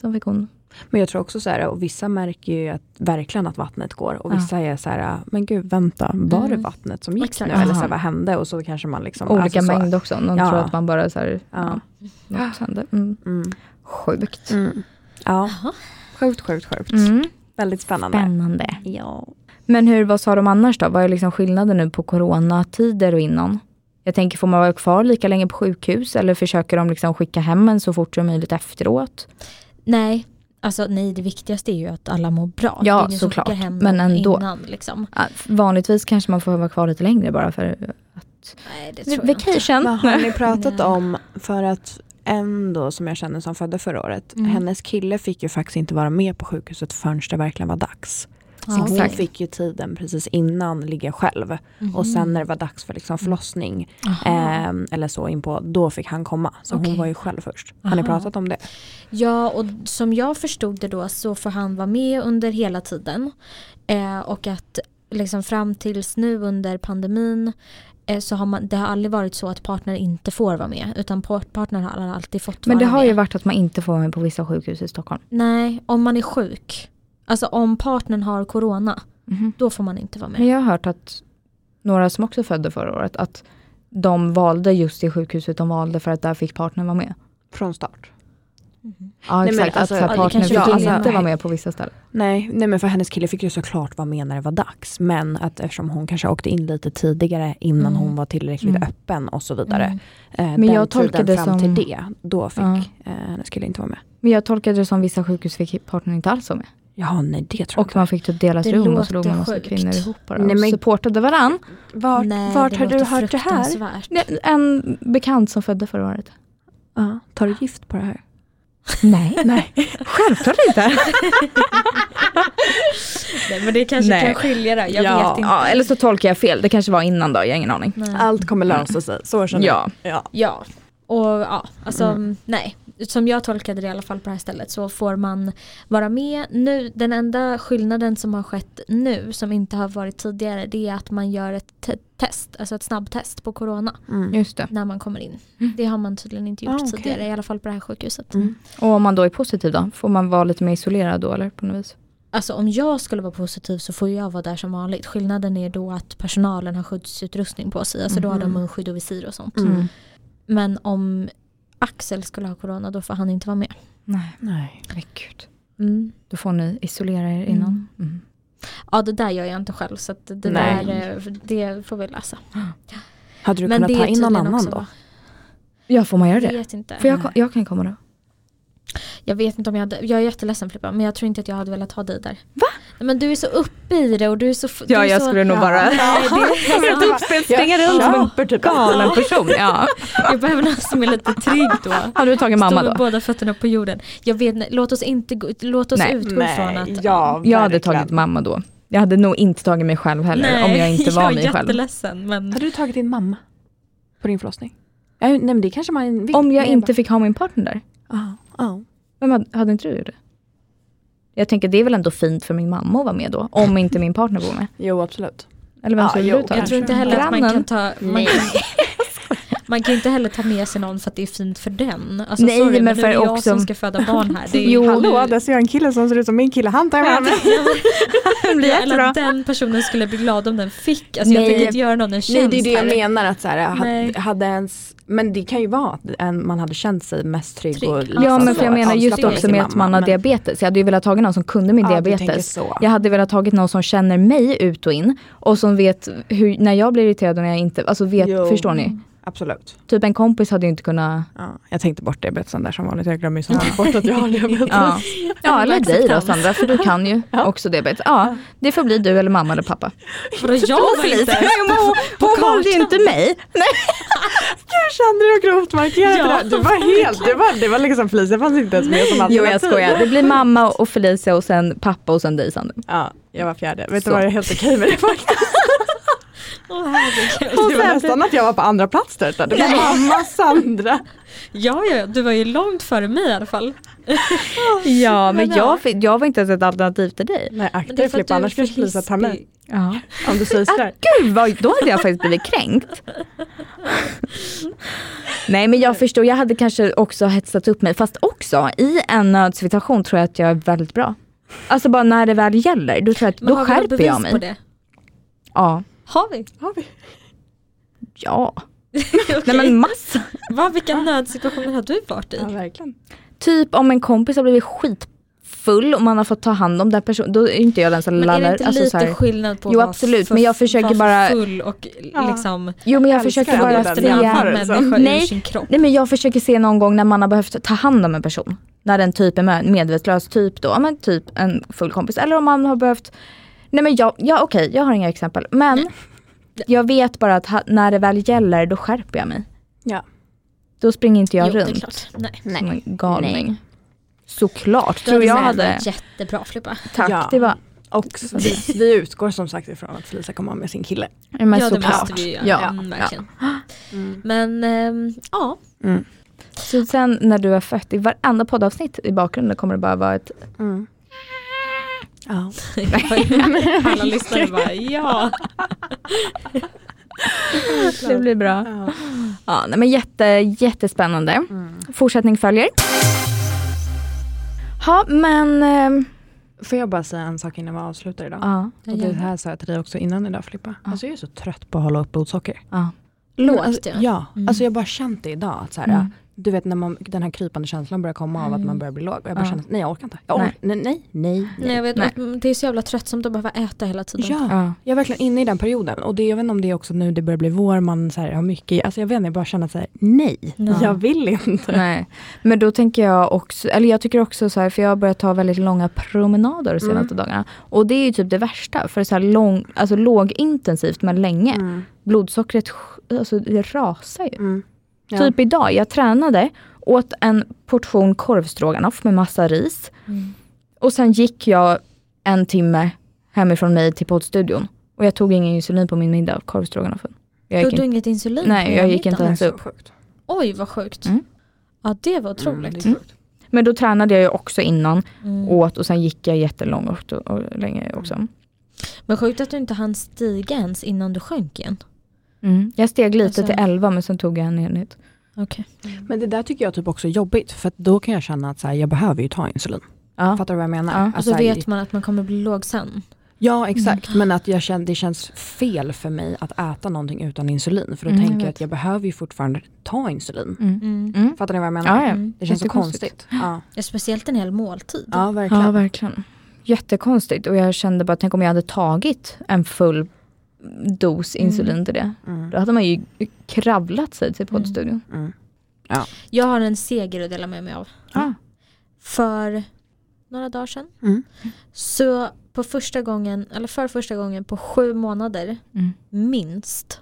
Speaker 1: Sen fick hon,
Speaker 3: Men jag tror också så här, och vissa märker ju att, verkligen att vattnet går och
Speaker 1: Ja.
Speaker 3: vissa är så här, men gud vänta, var det
Speaker 2: Mm.
Speaker 3: vattnet som gick
Speaker 2: Exakt.
Speaker 3: nu? Eller så
Speaker 1: Aha.
Speaker 3: här, vad hände? Och så kanske man liksom...
Speaker 1: olika
Speaker 3: så.
Speaker 1: mängd också. Någon
Speaker 3: Ja.
Speaker 1: tror att man bara så här, ja.
Speaker 3: Ja.
Speaker 1: något hände. Mm.
Speaker 3: Mm.
Speaker 1: Sjukt.
Speaker 3: Mm. Ja,
Speaker 2: Jaha.
Speaker 3: sjukt, sjukt, sjukt.
Speaker 1: Mm.
Speaker 3: Väldigt spännande.
Speaker 1: Spännande.
Speaker 3: Ja.
Speaker 1: Men hur, vad sa de annars då? Vad är liksom skillnaden nu på coronatider och innan? Jag tänker, får man vara kvar lika länge på sjukhus eller försöker de liksom skicka hem en så fort som möjligt efteråt?
Speaker 2: Nej, alltså nej det viktigaste är ju att alla mår bra.
Speaker 1: Ja,
Speaker 2: Det är ingen som
Speaker 1: såklart.
Speaker 2: skickar hem
Speaker 1: Men
Speaker 2: någon
Speaker 1: ändå.
Speaker 2: Innan, liksom.
Speaker 1: Ja, Vanligtvis kanske man får vara kvar lite längre bara för att ut.
Speaker 2: Nej, det tror jag inte.
Speaker 1: Vacation.
Speaker 3: Men har ni pratat
Speaker 2: Nej.
Speaker 3: om, för att en då som jag känner som födde förra året,
Speaker 5: Mm.
Speaker 3: hennes kille fick ju faktiskt inte vara med på sjukhuset förrän det verkligen var dags. Så
Speaker 1: Ja,
Speaker 3: hon
Speaker 1: exakt.
Speaker 3: fick ju tiden precis innan ligga själv och
Speaker 2: Mm.
Speaker 3: sen när det var dags för liksom förlossning
Speaker 1: eh,
Speaker 2: Aha.
Speaker 3: ehm, eller så in på, då fick han komma. Så
Speaker 2: Ah. Okej.
Speaker 3: hon var ju själv först. Har ni
Speaker 2: Aha.
Speaker 3: pratat om det?
Speaker 2: Ja och som jag förstod det då så får han vara med under hela tiden. Eh, och att liksom fram tills nu under pandemin eh, så har man, det har aldrig varit så att partner inte får vara med utan part- partner har alltid fått
Speaker 1: Men det
Speaker 2: vara
Speaker 1: har
Speaker 2: med.
Speaker 1: ju varit att man inte får vara med på vissa sjukhus i Stockholm.
Speaker 2: Nej, om man är sjuk. Alltså om partnern har corona, då får man inte vara med.
Speaker 1: Men jag har hört att några som också födde förra året, att de valde just det sjukhuset de valde för att där fick partnern vara med.
Speaker 3: Från start?
Speaker 2: Mm.
Speaker 1: Ja
Speaker 3: Nej, men
Speaker 1: exakt,
Speaker 3: alltså-
Speaker 1: att så
Speaker 3: ja,
Speaker 1: här,
Speaker 3: det
Speaker 1: partnern
Speaker 2: kanske
Speaker 1: fick
Speaker 2: var-
Speaker 1: inte
Speaker 2: alltså-
Speaker 1: vara med på vissa ställen.
Speaker 3: Nej, nej, men för hennes kille fick ju såklart vara med när det var dags. Men att eftersom hon kanske åkte in lite tidigare innan
Speaker 2: Mm.
Speaker 3: hon var tillräckligt
Speaker 1: Mm.
Speaker 3: öppen och så vidare.
Speaker 2: Mm.
Speaker 3: Eh,
Speaker 1: Men
Speaker 3: den
Speaker 1: jag tolkar
Speaker 3: tiden
Speaker 1: det som-
Speaker 3: fram till det, då fick
Speaker 1: Ja.
Speaker 3: eh, hennes kille inte vara med.
Speaker 1: Men jag tolkade det som vissa sjukhus fick partnern inte alls vara med.
Speaker 3: Ja, nej det tror
Speaker 1: Och man fick typ delas
Speaker 2: Det
Speaker 1: rum och
Speaker 2: låter
Speaker 1: så låg man massa
Speaker 2: sjukt.
Speaker 1: kvinnor ihop bara
Speaker 3: Nej, men-
Speaker 1: och supportade varann.
Speaker 3: jag Vart,
Speaker 2: Nej,
Speaker 3: vart har du
Speaker 2: låter
Speaker 3: hört det här?
Speaker 2: fruktansvärt.
Speaker 1: Det- En bekant som födde förra året.
Speaker 3: Ja, tar du gift på det här?
Speaker 1: Nej, nej. självklart inte.
Speaker 2: Nej, men det kanske
Speaker 1: Nej.
Speaker 2: kan skilja där, jag
Speaker 3: Ja,
Speaker 2: vet inte.
Speaker 1: ja, eller så tolkar jag fel, det kanske var innan då, jag har ingen aning.
Speaker 2: Nej.
Speaker 3: Mm. Allt kommer lösa sig, så känner
Speaker 1: Ja.
Speaker 3: jag. Ja.
Speaker 2: Ja. Och ja, alltså
Speaker 3: Mm.
Speaker 2: nej. Som jag tolkade det i alla fall på det här stället så får man vara med nu. Den enda skillnaden som har skett nu som inte har varit tidigare det är att man gör ett te- test, alltså ett snabbtest på corona
Speaker 3: Mm.
Speaker 1: Just det.
Speaker 2: när man kommer in. Det har man tydligen inte gjort
Speaker 3: Ah, okej.
Speaker 2: tidigare i alla fall på det här sjukhuset.
Speaker 3: Mm.
Speaker 1: Och om man då är positiv då, får man vara lite mer isolerad då eller på något vis?
Speaker 2: Alltså om jag skulle vara positiv så får jag vara där som vanligt. Skillnaden är då att personalen har skyddsutrustning på sig, alltså då har de
Speaker 3: Mhm.
Speaker 2: munskydd och visir och sånt.
Speaker 3: Mm.
Speaker 2: Men om Axel skulle ha corona då får han inte vara med.
Speaker 1: Nej,
Speaker 3: Nej.
Speaker 1: men gud.
Speaker 2: Mm.
Speaker 1: Då får ni isolera er innan. Mm.
Speaker 2: Ja det där gör jag inte själv så att det
Speaker 3: Nej.
Speaker 2: där eh, det får vi läsa.
Speaker 3: Hade du
Speaker 2: Men det
Speaker 3: kunnat
Speaker 2: är
Speaker 3: ta in någon
Speaker 2: tydligen
Speaker 3: annan
Speaker 2: också
Speaker 3: då?
Speaker 2: va?
Speaker 1: Ja, får man göra
Speaker 2: Jag
Speaker 1: det?
Speaker 2: vet inte.
Speaker 1: För jag, jag kan komma då.
Speaker 2: Jag vet inte om jag hade, jag är jätteledsen Filippa men jag tror inte att jag hade velat ha dig där. Va? Men du är så uppe i det och du är så... f- du är så,
Speaker 1: nog bara
Speaker 2: Nej, det är
Speaker 1: helt
Speaker 3: typ
Speaker 1: uppspelt springa runt som en
Speaker 3: köper typ.
Speaker 1: galen person. Ja.
Speaker 2: Jag behöver någon som är lite trygg då.
Speaker 1: Hade du tagit mamma
Speaker 2: Stå med
Speaker 1: då?
Speaker 2: båda fötterna på jorden. Jag vet inte, låt oss inte gå, låt oss
Speaker 1: Nej.
Speaker 2: utgå från att...
Speaker 3: ja,
Speaker 1: Jag hade
Speaker 3: verkligen.
Speaker 1: tagit mamma då. Jag hade nog inte tagit mig själv heller
Speaker 2: Nej,
Speaker 1: om jag inte var mig
Speaker 2: Jag är
Speaker 1: själv.
Speaker 2: jätteledsen men...
Speaker 3: Hade du tagit din mamma på din förlossning? Ja, nej men det kanske man vill.
Speaker 1: Om jag
Speaker 3: Men
Speaker 1: inte fick ha min partner där.
Speaker 3: bara- Ja, ja.
Speaker 1: Vem hade, hade inte du gjort det? Jag tänker det är väl ändå fint för min mamma att vara med då. Om inte min partner bor med.
Speaker 3: Jo absolut.
Speaker 1: Eller vem
Speaker 3: Ja,
Speaker 1: skulle
Speaker 3: jo,
Speaker 1: du ta?
Speaker 2: Jag tror inte heller att man
Speaker 1: Grannen?
Speaker 2: kan ta... Man kan, man kan inte heller ta med sig någon för att det är fint för den. Alltså,
Speaker 1: Nej,
Speaker 2: sorry, men,
Speaker 1: men
Speaker 2: nu
Speaker 1: för
Speaker 2: är jag
Speaker 1: också-
Speaker 2: som ska föda barn här. Det är,
Speaker 1: Jo.
Speaker 3: Alltså, Hallå, där ser jag en kille som ser ut som min kille. Han tar med mig.
Speaker 1: Det blir
Speaker 2: eller
Speaker 1: jättebra.
Speaker 2: att den personen skulle bli glad om den fick. Alltså, jag
Speaker 3: Nej.
Speaker 2: tänker inte göra någon en
Speaker 3: Nej
Speaker 2: tjänst.
Speaker 3: det är det jag
Speaker 2: här.
Speaker 3: menar att så här,
Speaker 2: Nej.
Speaker 3: hade, hade ens, men det kan ju vara att en, man hade känt sig mest trygg,
Speaker 2: Trygg.
Speaker 3: och liksom
Speaker 2: Ja,
Speaker 1: Ja men
Speaker 2: så
Speaker 1: för jag
Speaker 2: att
Speaker 1: menar just
Speaker 3: avslappnad
Speaker 1: också
Speaker 3: Alltså, sin
Speaker 1: med att man har
Speaker 3: men-
Speaker 1: diabetes. Jag hade ju velat tagit någon som kunde min
Speaker 3: Ja, du tänker
Speaker 1: diabetes.
Speaker 3: så.
Speaker 1: Jag hade velat tagit någon som känner mig ut och in och som vet hur, när jag blir irriterad och när jag inte, alltså vet,
Speaker 3: Jo.
Speaker 1: förstår ni?
Speaker 3: Absolut.
Speaker 1: Typ en kompis hade ju inte kunnat,
Speaker 3: Ja, jag tänkte bort diabetesen där som vanligt, jag glömmer ju som vanligt bort att jag har diabetes.
Speaker 1: ja, ja eller dig då
Speaker 2: acceptans.
Speaker 1: Sandra för du kan ju också diabetes. Ja, det får bli du eller mamma eller pappa.
Speaker 2: Vadå, jag var inte
Speaker 1: Felicia, hon hon, hon valde ju inte mig. Nej.
Speaker 3: Jag kände hur grovt markerat
Speaker 2: Ja.
Speaker 3: det där. Du var helt, det var, det var liksom Felicia fanns inte ens med som
Speaker 1: Jo
Speaker 3: alternativ.
Speaker 1: jag skojar, det typ- blir mamma och Felicia och sen pappa och sen dig Sandra.
Speaker 3: Ja, jag var fjärde. Vet
Speaker 1: Så.
Speaker 3: du vad, jag är helt okej med det faktiskt.
Speaker 2: Åh, herregud.
Speaker 3: Det var nästan att jag var på andra plats där. utan Det var mamma, Sandra.
Speaker 2: ja, ja, ja, du var ju långt före mig i alla fall.
Speaker 1: Ja
Speaker 2: men
Speaker 1: men jag, fick- jag var inte ens ett alternativ till dig.
Speaker 3: Nej akta
Speaker 2: Men det är
Speaker 3: dig
Speaker 2: för att
Speaker 3: Filippa,
Speaker 2: du
Speaker 3: annars
Speaker 2: är för
Speaker 3: kanske Felicia tar mig.
Speaker 2: hispig.
Speaker 1: Ja.
Speaker 3: Om du säger sådär.
Speaker 1: Gud, vad, då hade jag faktiskt blivit kränkt. Nej men jag förstår, jag hade kanske också hetsat upp mig. Fast också i en nödsituation tror jag att jag är väldigt bra. Alltså bara när det väl gäller, då, tror jag att,
Speaker 2: Men
Speaker 1: då
Speaker 2: har vi något
Speaker 1: skärper jag
Speaker 2: bevis på
Speaker 1: mig.
Speaker 2: det?
Speaker 1: Ja.
Speaker 2: Har vi?
Speaker 3: Har vi?
Speaker 1: ja.
Speaker 2: Okej.
Speaker 1: Nej men massa.
Speaker 2: Vad, vilka nödsituationer har du varit
Speaker 3: Ja
Speaker 2: i?
Speaker 3: verkligen.
Speaker 1: Typ om en kompis har blivit skitfull och man har fått ta hand om den personen, då är inte jag den som
Speaker 2: Men är det
Speaker 1: lallar.
Speaker 2: inte
Speaker 1: alltså, så
Speaker 2: lite
Speaker 1: här-
Speaker 2: skillnad på
Speaker 1: Jo,
Speaker 2: att vara
Speaker 1: absolut,
Speaker 2: för-
Speaker 1: men jag försöker
Speaker 2: vara
Speaker 1: bara-
Speaker 2: full och liksom
Speaker 1: Jo men Alltså, jag
Speaker 3: Älskar
Speaker 1: försöker
Speaker 3: ändå
Speaker 1: bara
Speaker 3: den
Speaker 1: se
Speaker 3: jämförelsen.
Speaker 2: människa ur
Speaker 1: Nej.
Speaker 2: sin kropp.
Speaker 1: Nej men jag försöker se någon gång när man har behövt ta hand om en person. När den typ är med- medvetslös, typ då, ja, men typ
Speaker 2: Mm.
Speaker 1: en full kompis. Eller om man har behövt, nej men jag, ja okej jag har inga exempel. Men jag vet bara att ha, när det väl gäller då skärper jag mig.
Speaker 3: Ja.
Speaker 1: Då springer inte jag
Speaker 2: jo, det är
Speaker 1: runt
Speaker 2: klart. Nej.
Speaker 1: som en galning. Såklart,
Speaker 2: Du
Speaker 1: tror jag
Speaker 2: snäll,
Speaker 1: hade.
Speaker 2: Jättebra Filippa.
Speaker 1: Tack,
Speaker 3: Ja.
Speaker 1: det var
Speaker 3: Och så vi, vi utgår som sagt ifrån att Felicia kommer ha med sin kille.
Speaker 1: men
Speaker 2: ja, det
Speaker 1: såklart.
Speaker 2: måste vi ju göra.
Speaker 1: Ja.
Speaker 2: Mm, verkligen. Men ehm, ja,
Speaker 3: Mm.
Speaker 1: Så sen när du är fött, i varenda poddavsnitt i bakgrunden kommer det bara vara ett
Speaker 3: Mm. Ja.
Speaker 2: alla lyssnare bara ja.
Speaker 1: Det blir bra.
Speaker 3: Ja.
Speaker 1: Ja, nej, men jätte, jättespännande. Fortsättning följer. Ja, men... ehm,
Speaker 3: Får jag bara säga en sak innan vi avslutar idag?
Speaker 1: ja,
Speaker 3: Och det här sa jag till dig också innan idag Filippa. Alltså jag är så trött på att hålla upp blodsocker.
Speaker 1: ja.
Speaker 2: Lågt
Speaker 3: Alltså,
Speaker 2: ja.
Speaker 3: ja, alltså jag har bara känt det idag. Att så här, Du vet när man, den här krypande känslan börjar komma av att man börjar bli låg. Och jag bara känner att nej jag orkar inte. Jag
Speaker 1: Nej.
Speaker 3: orkar, nej. nej, nej,
Speaker 2: Nej, jag vet,
Speaker 1: Nej.
Speaker 2: och Det är så jävla tröttsamt att behöva äta hela tiden.
Speaker 3: Ja,
Speaker 1: Ja.
Speaker 3: jag är verkligen inne i den perioden. Och det, jag vet inte om det är också nu det börjar bli vår, man så här, har mycket, alltså jag vet inte, jag bara känner att så här, nej, jag vill inte.
Speaker 1: Nej. Men då tänker jag också, eller jag tycker också så här, för jag har börjat ta väldigt långa promenader de senaste dagarna. Och det är ju typ det värsta, för så här lång, alltså lågintensivt men länge.
Speaker 3: Mm.
Speaker 1: Blodsockret sj- alltså, det rasar ju.
Speaker 3: Ja.
Speaker 1: Typ idag, jag tränade, åt en portion korvstroganoff med massa ris.
Speaker 2: Mm.
Speaker 1: Och sen gick jag en timme hemifrån mig till poddstudion. Och jag tog ingen insulin på min middag av korvstroganoffen. Jag gick
Speaker 2: Tog du
Speaker 1: inte,
Speaker 2: inget insulin? på
Speaker 1: nej, jag gick
Speaker 2: middagen?
Speaker 1: inte ens upp.
Speaker 3: sjukt.
Speaker 2: Oj vad sjukt.
Speaker 1: Mm.
Speaker 2: Ja det var otroligt.
Speaker 1: Men då tränade jag ju också innan,
Speaker 2: Mm.
Speaker 1: åt och sen gick jag jättelångt och, och länge
Speaker 3: Mm.
Speaker 1: också.
Speaker 2: Men sjukt att du inte hann stiga ens innan du sjönk igen.
Speaker 1: Mm. Jag steg lite
Speaker 2: Alltså-
Speaker 1: till 11 men sen tog jag en enhet.
Speaker 2: Okej.
Speaker 3: Men det där tycker jag typ också är jobbigt, för att då kan jag känna att så här, jag behöver ju ta insulin.
Speaker 1: Ja.
Speaker 3: Fattar du vad jag menar?
Speaker 1: Ja. alltså
Speaker 3: Att
Speaker 2: Och så
Speaker 3: så här,
Speaker 2: vet man att man kommer bli låg sen.
Speaker 3: Ja, exakt.
Speaker 1: Mm.
Speaker 3: Men att jag känner, det känns fel för mig att äta någonting utan insulin. För då
Speaker 1: Mm, jag
Speaker 3: tänker jag
Speaker 1: vet.
Speaker 3: att jag behöver ju fortfarande ta insulin.
Speaker 1: Mm.
Speaker 2: Mm.
Speaker 3: Fattar ni vad jag menar?
Speaker 1: Ja, ja.
Speaker 2: Mm.
Speaker 3: Det känns så
Speaker 1: Jättekonstigt.
Speaker 3: konstigt. Ja.
Speaker 2: Ja, Speciellt en hel måltid.
Speaker 3: ja, verkligen.
Speaker 1: Ja, verkligen. Jättekonstigt och jag kände bara, tänk om jag hade tagit en full dos
Speaker 3: Mm.
Speaker 1: insulin till det. Då hade man ju kravlat sig till
Speaker 3: Mm.
Speaker 1: poddstudion.
Speaker 2: Jag har en seger att dela med mig av.
Speaker 1: Ja.
Speaker 2: För några dagar sedan.
Speaker 3: Mm.
Speaker 2: Så på första gången, eller för första gången på sju månader
Speaker 1: Mm.
Speaker 2: minst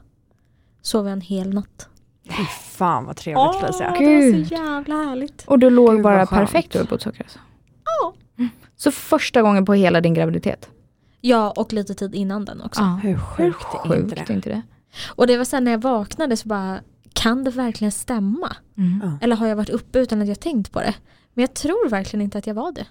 Speaker 2: sov jag en hel natt.
Speaker 3: Fy fan vad trevligt Felicia.
Speaker 2: det var
Speaker 1: Gud.
Speaker 2: så jävla härligt.
Speaker 1: Och du låg
Speaker 3: Gud,
Speaker 1: bara
Speaker 3: vad skönt.
Speaker 1: perfekt över blodsocker alltså.
Speaker 2: Ja.
Speaker 1: Mm. Så första gången på hela din graviditet?
Speaker 2: Ja, och lite tid innan den också.
Speaker 3: Hur sjukt är inte
Speaker 1: Sjukt,
Speaker 3: det?
Speaker 1: inte det?
Speaker 2: Och det var sen när jag vaknade så bara, kan det verkligen stämma?
Speaker 1: Mm.
Speaker 3: Ja.
Speaker 2: Eller har jag varit uppe utan att jag tänkt på det? Men jag tror verkligen inte att jag var det.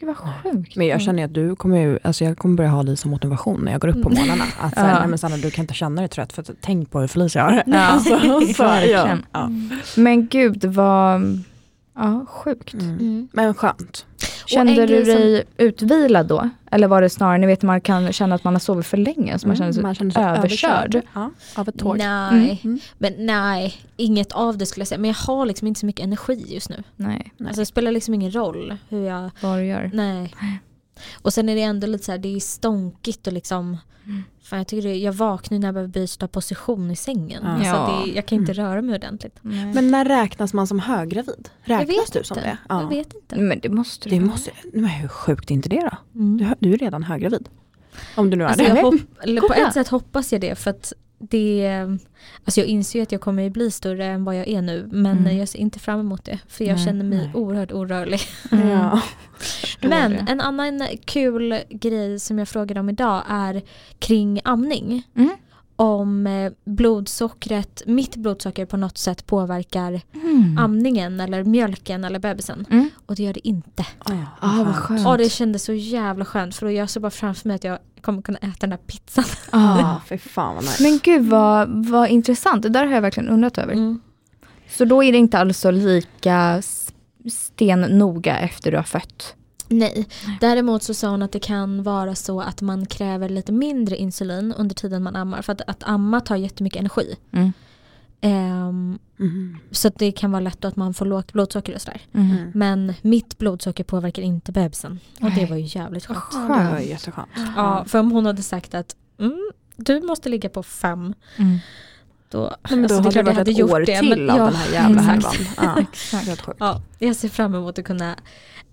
Speaker 1: Gud vad sjukt.
Speaker 3: Men jag känner ju att du kommer ju, alltså jag kommer börja ha dig som motivation när jag går upp på morgnarna. Att så här, nej men Sanna du kan inte känna dig trött för att tänk på hur Felicia har det.
Speaker 1: Ja.
Speaker 3: så, ja.
Speaker 1: Verkligen.
Speaker 3: Ja.
Speaker 1: Men gud vad ja, sjukt.
Speaker 3: Mm. Men skönt.
Speaker 1: Kände
Speaker 2: en
Speaker 1: du
Speaker 2: grej som-
Speaker 1: dig utvilad då? Eller var det snarare, ni vet man kan känna att man har sovit för länge så
Speaker 3: Mm,
Speaker 1: man känner sig överkörd.
Speaker 3: Ja, av ett tåg. Mm.
Speaker 2: Nej,
Speaker 1: Mm.
Speaker 2: men nej, inget av det skulle jag säga. Men jag har liksom inte så mycket energi just nu.
Speaker 1: Nej,
Speaker 2: Alltså det spelar liksom ingen roll hur jag,
Speaker 1: vad du gör.
Speaker 2: nej. Och sen är det ändå lite så här, det är stånkigt och liksom, fan jag tycker det, jag vaknar ju när jag behöver byta position i sängen.
Speaker 3: Ja.
Speaker 2: Alltså
Speaker 1: Ja.
Speaker 2: det, jag kan
Speaker 1: Mm.
Speaker 2: inte röra mig ordentligt.
Speaker 3: Men när räknas man som höggravid?
Speaker 2: Jag
Speaker 3: Räknas
Speaker 2: vet
Speaker 3: du som
Speaker 2: inte.
Speaker 3: det?
Speaker 2: Jag vet inte.
Speaker 1: Men det måste
Speaker 3: Det
Speaker 1: du.
Speaker 3: måste, men hur sjukt är inte det då?
Speaker 2: Mm.
Speaker 3: Du, hö- du är redan höggravid. Om du nu är
Speaker 2: Alltså
Speaker 3: det.
Speaker 2: jag hopp, eller på
Speaker 1: Kolla.
Speaker 2: ett sätt hoppas jag det för att det, alltså jag inser ju att jag kommer ju bli större än vad jag är nu men jag ser inte fram emot det för jag
Speaker 1: Mm. Nej.
Speaker 2: känner mig
Speaker 3: Nej.
Speaker 2: oerhört orörlig.
Speaker 1: Mm.
Speaker 3: Ja.
Speaker 2: Men
Speaker 1: det.
Speaker 2: en annan kul grej som jag frågade om idag är kring amning.
Speaker 1: Mm.
Speaker 2: Om eh, blodsockret, mitt blodsocker på något sätt påverkar amningen eller mjölken eller bebisen.
Speaker 1: Mm.
Speaker 2: Och det gör det inte.
Speaker 3: Ah,
Speaker 1: Ah, vad skönt.
Speaker 2: Och det kändes så jävla skönt för då jag såg bara framför mig att jag kommer kunna äta den här pizzan.
Speaker 1: Ah.
Speaker 3: Fy fan vad nice.
Speaker 1: Men gud vad, vad intressant, det där har jag verkligen undrat över.
Speaker 2: Mm.
Speaker 1: Så då är det inte alltså lika s- stennoga efter du har fött?
Speaker 2: Nej, däremot så sa hon att det kan vara så att man kräver lite mindre insulin under tiden man ammar. För att, att amma tar jättemycket energi.
Speaker 1: Mm.
Speaker 2: Ehm,
Speaker 3: Mhm.
Speaker 2: så att det kan vara lätt då att man får lågt blodsocker och sådär.
Speaker 1: Mm.
Speaker 2: Men mitt blodsocker påverkar inte bebisen. Och det var ju jävligt skönt.
Speaker 3: Ja, Det var ju jätteskönt.
Speaker 2: Ja, för om hon hade sagt att mm, du måste ligga på fem.
Speaker 1: Mm.
Speaker 2: Då,
Speaker 3: Men
Speaker 2: alltså,
Speaker 3: då
Speaker 2: är
Speaker 3: hade det
Speaker 2: klart jag
Speaker 3: varit ett år
Speaker 2: det,
Speaker 3: till alltså.
Speaker 2: men-
Speaker 3: av
Speaker 2: ja,
Speaker 3: den här jävla
Speaker 2: exakt.
Speaker 3: härvan. Ja, helt sjukt.
Speaker 2: Ja, jag ser fram emot att kunna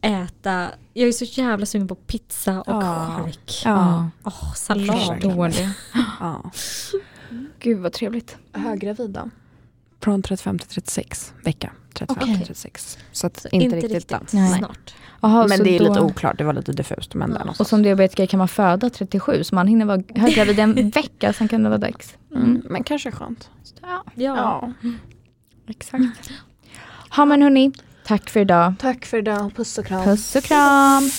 Speaker 2: äta. Jag är så jävla sugen på pizza och
Speaker 3: Ja.
Speaker 2: chark.
Speaker 3: Ja.
Speaker 2: Åh,
Speaker 3: Förstår
Speaker 2: sallad.
Speaker 3: verkligen.
Speaker 1: Dålig.
Speaker 3: Ja.
Speaker 1: Gud vad trevligt.
Speaker 6: Höggravid då?
Speaker 3: Från 35 till 36 vecka. 35
Speaker 1: Okej.
Speaker 3: 36. Så att inte, riktigt dans.
Speaker 1: Nej.
Speaker 2: snart.
Speaker 1: Aha,
Speaker 6: men
Speaker 1: så
Speaker 6: det är
Speaker 1: då-
Speaker 6: lite oklart, det var lite diffust. Men där
Speaker 1: Och
Speaker 6: någonstans.
Speaker 1: som diabetiker kan man föda 37 så man hinner vara höggravid en vecka sen kan det vara dags.
Speaker 3: Mm. Men kanske skönt.
Speaker 1: Ja,
Speaker 2: Ja.
Speaker 1: exakt. Ja men hörni, tack för idag.
Speaker 6: Tack för idag, puss och kram.
Speaker 1: Puss och kram.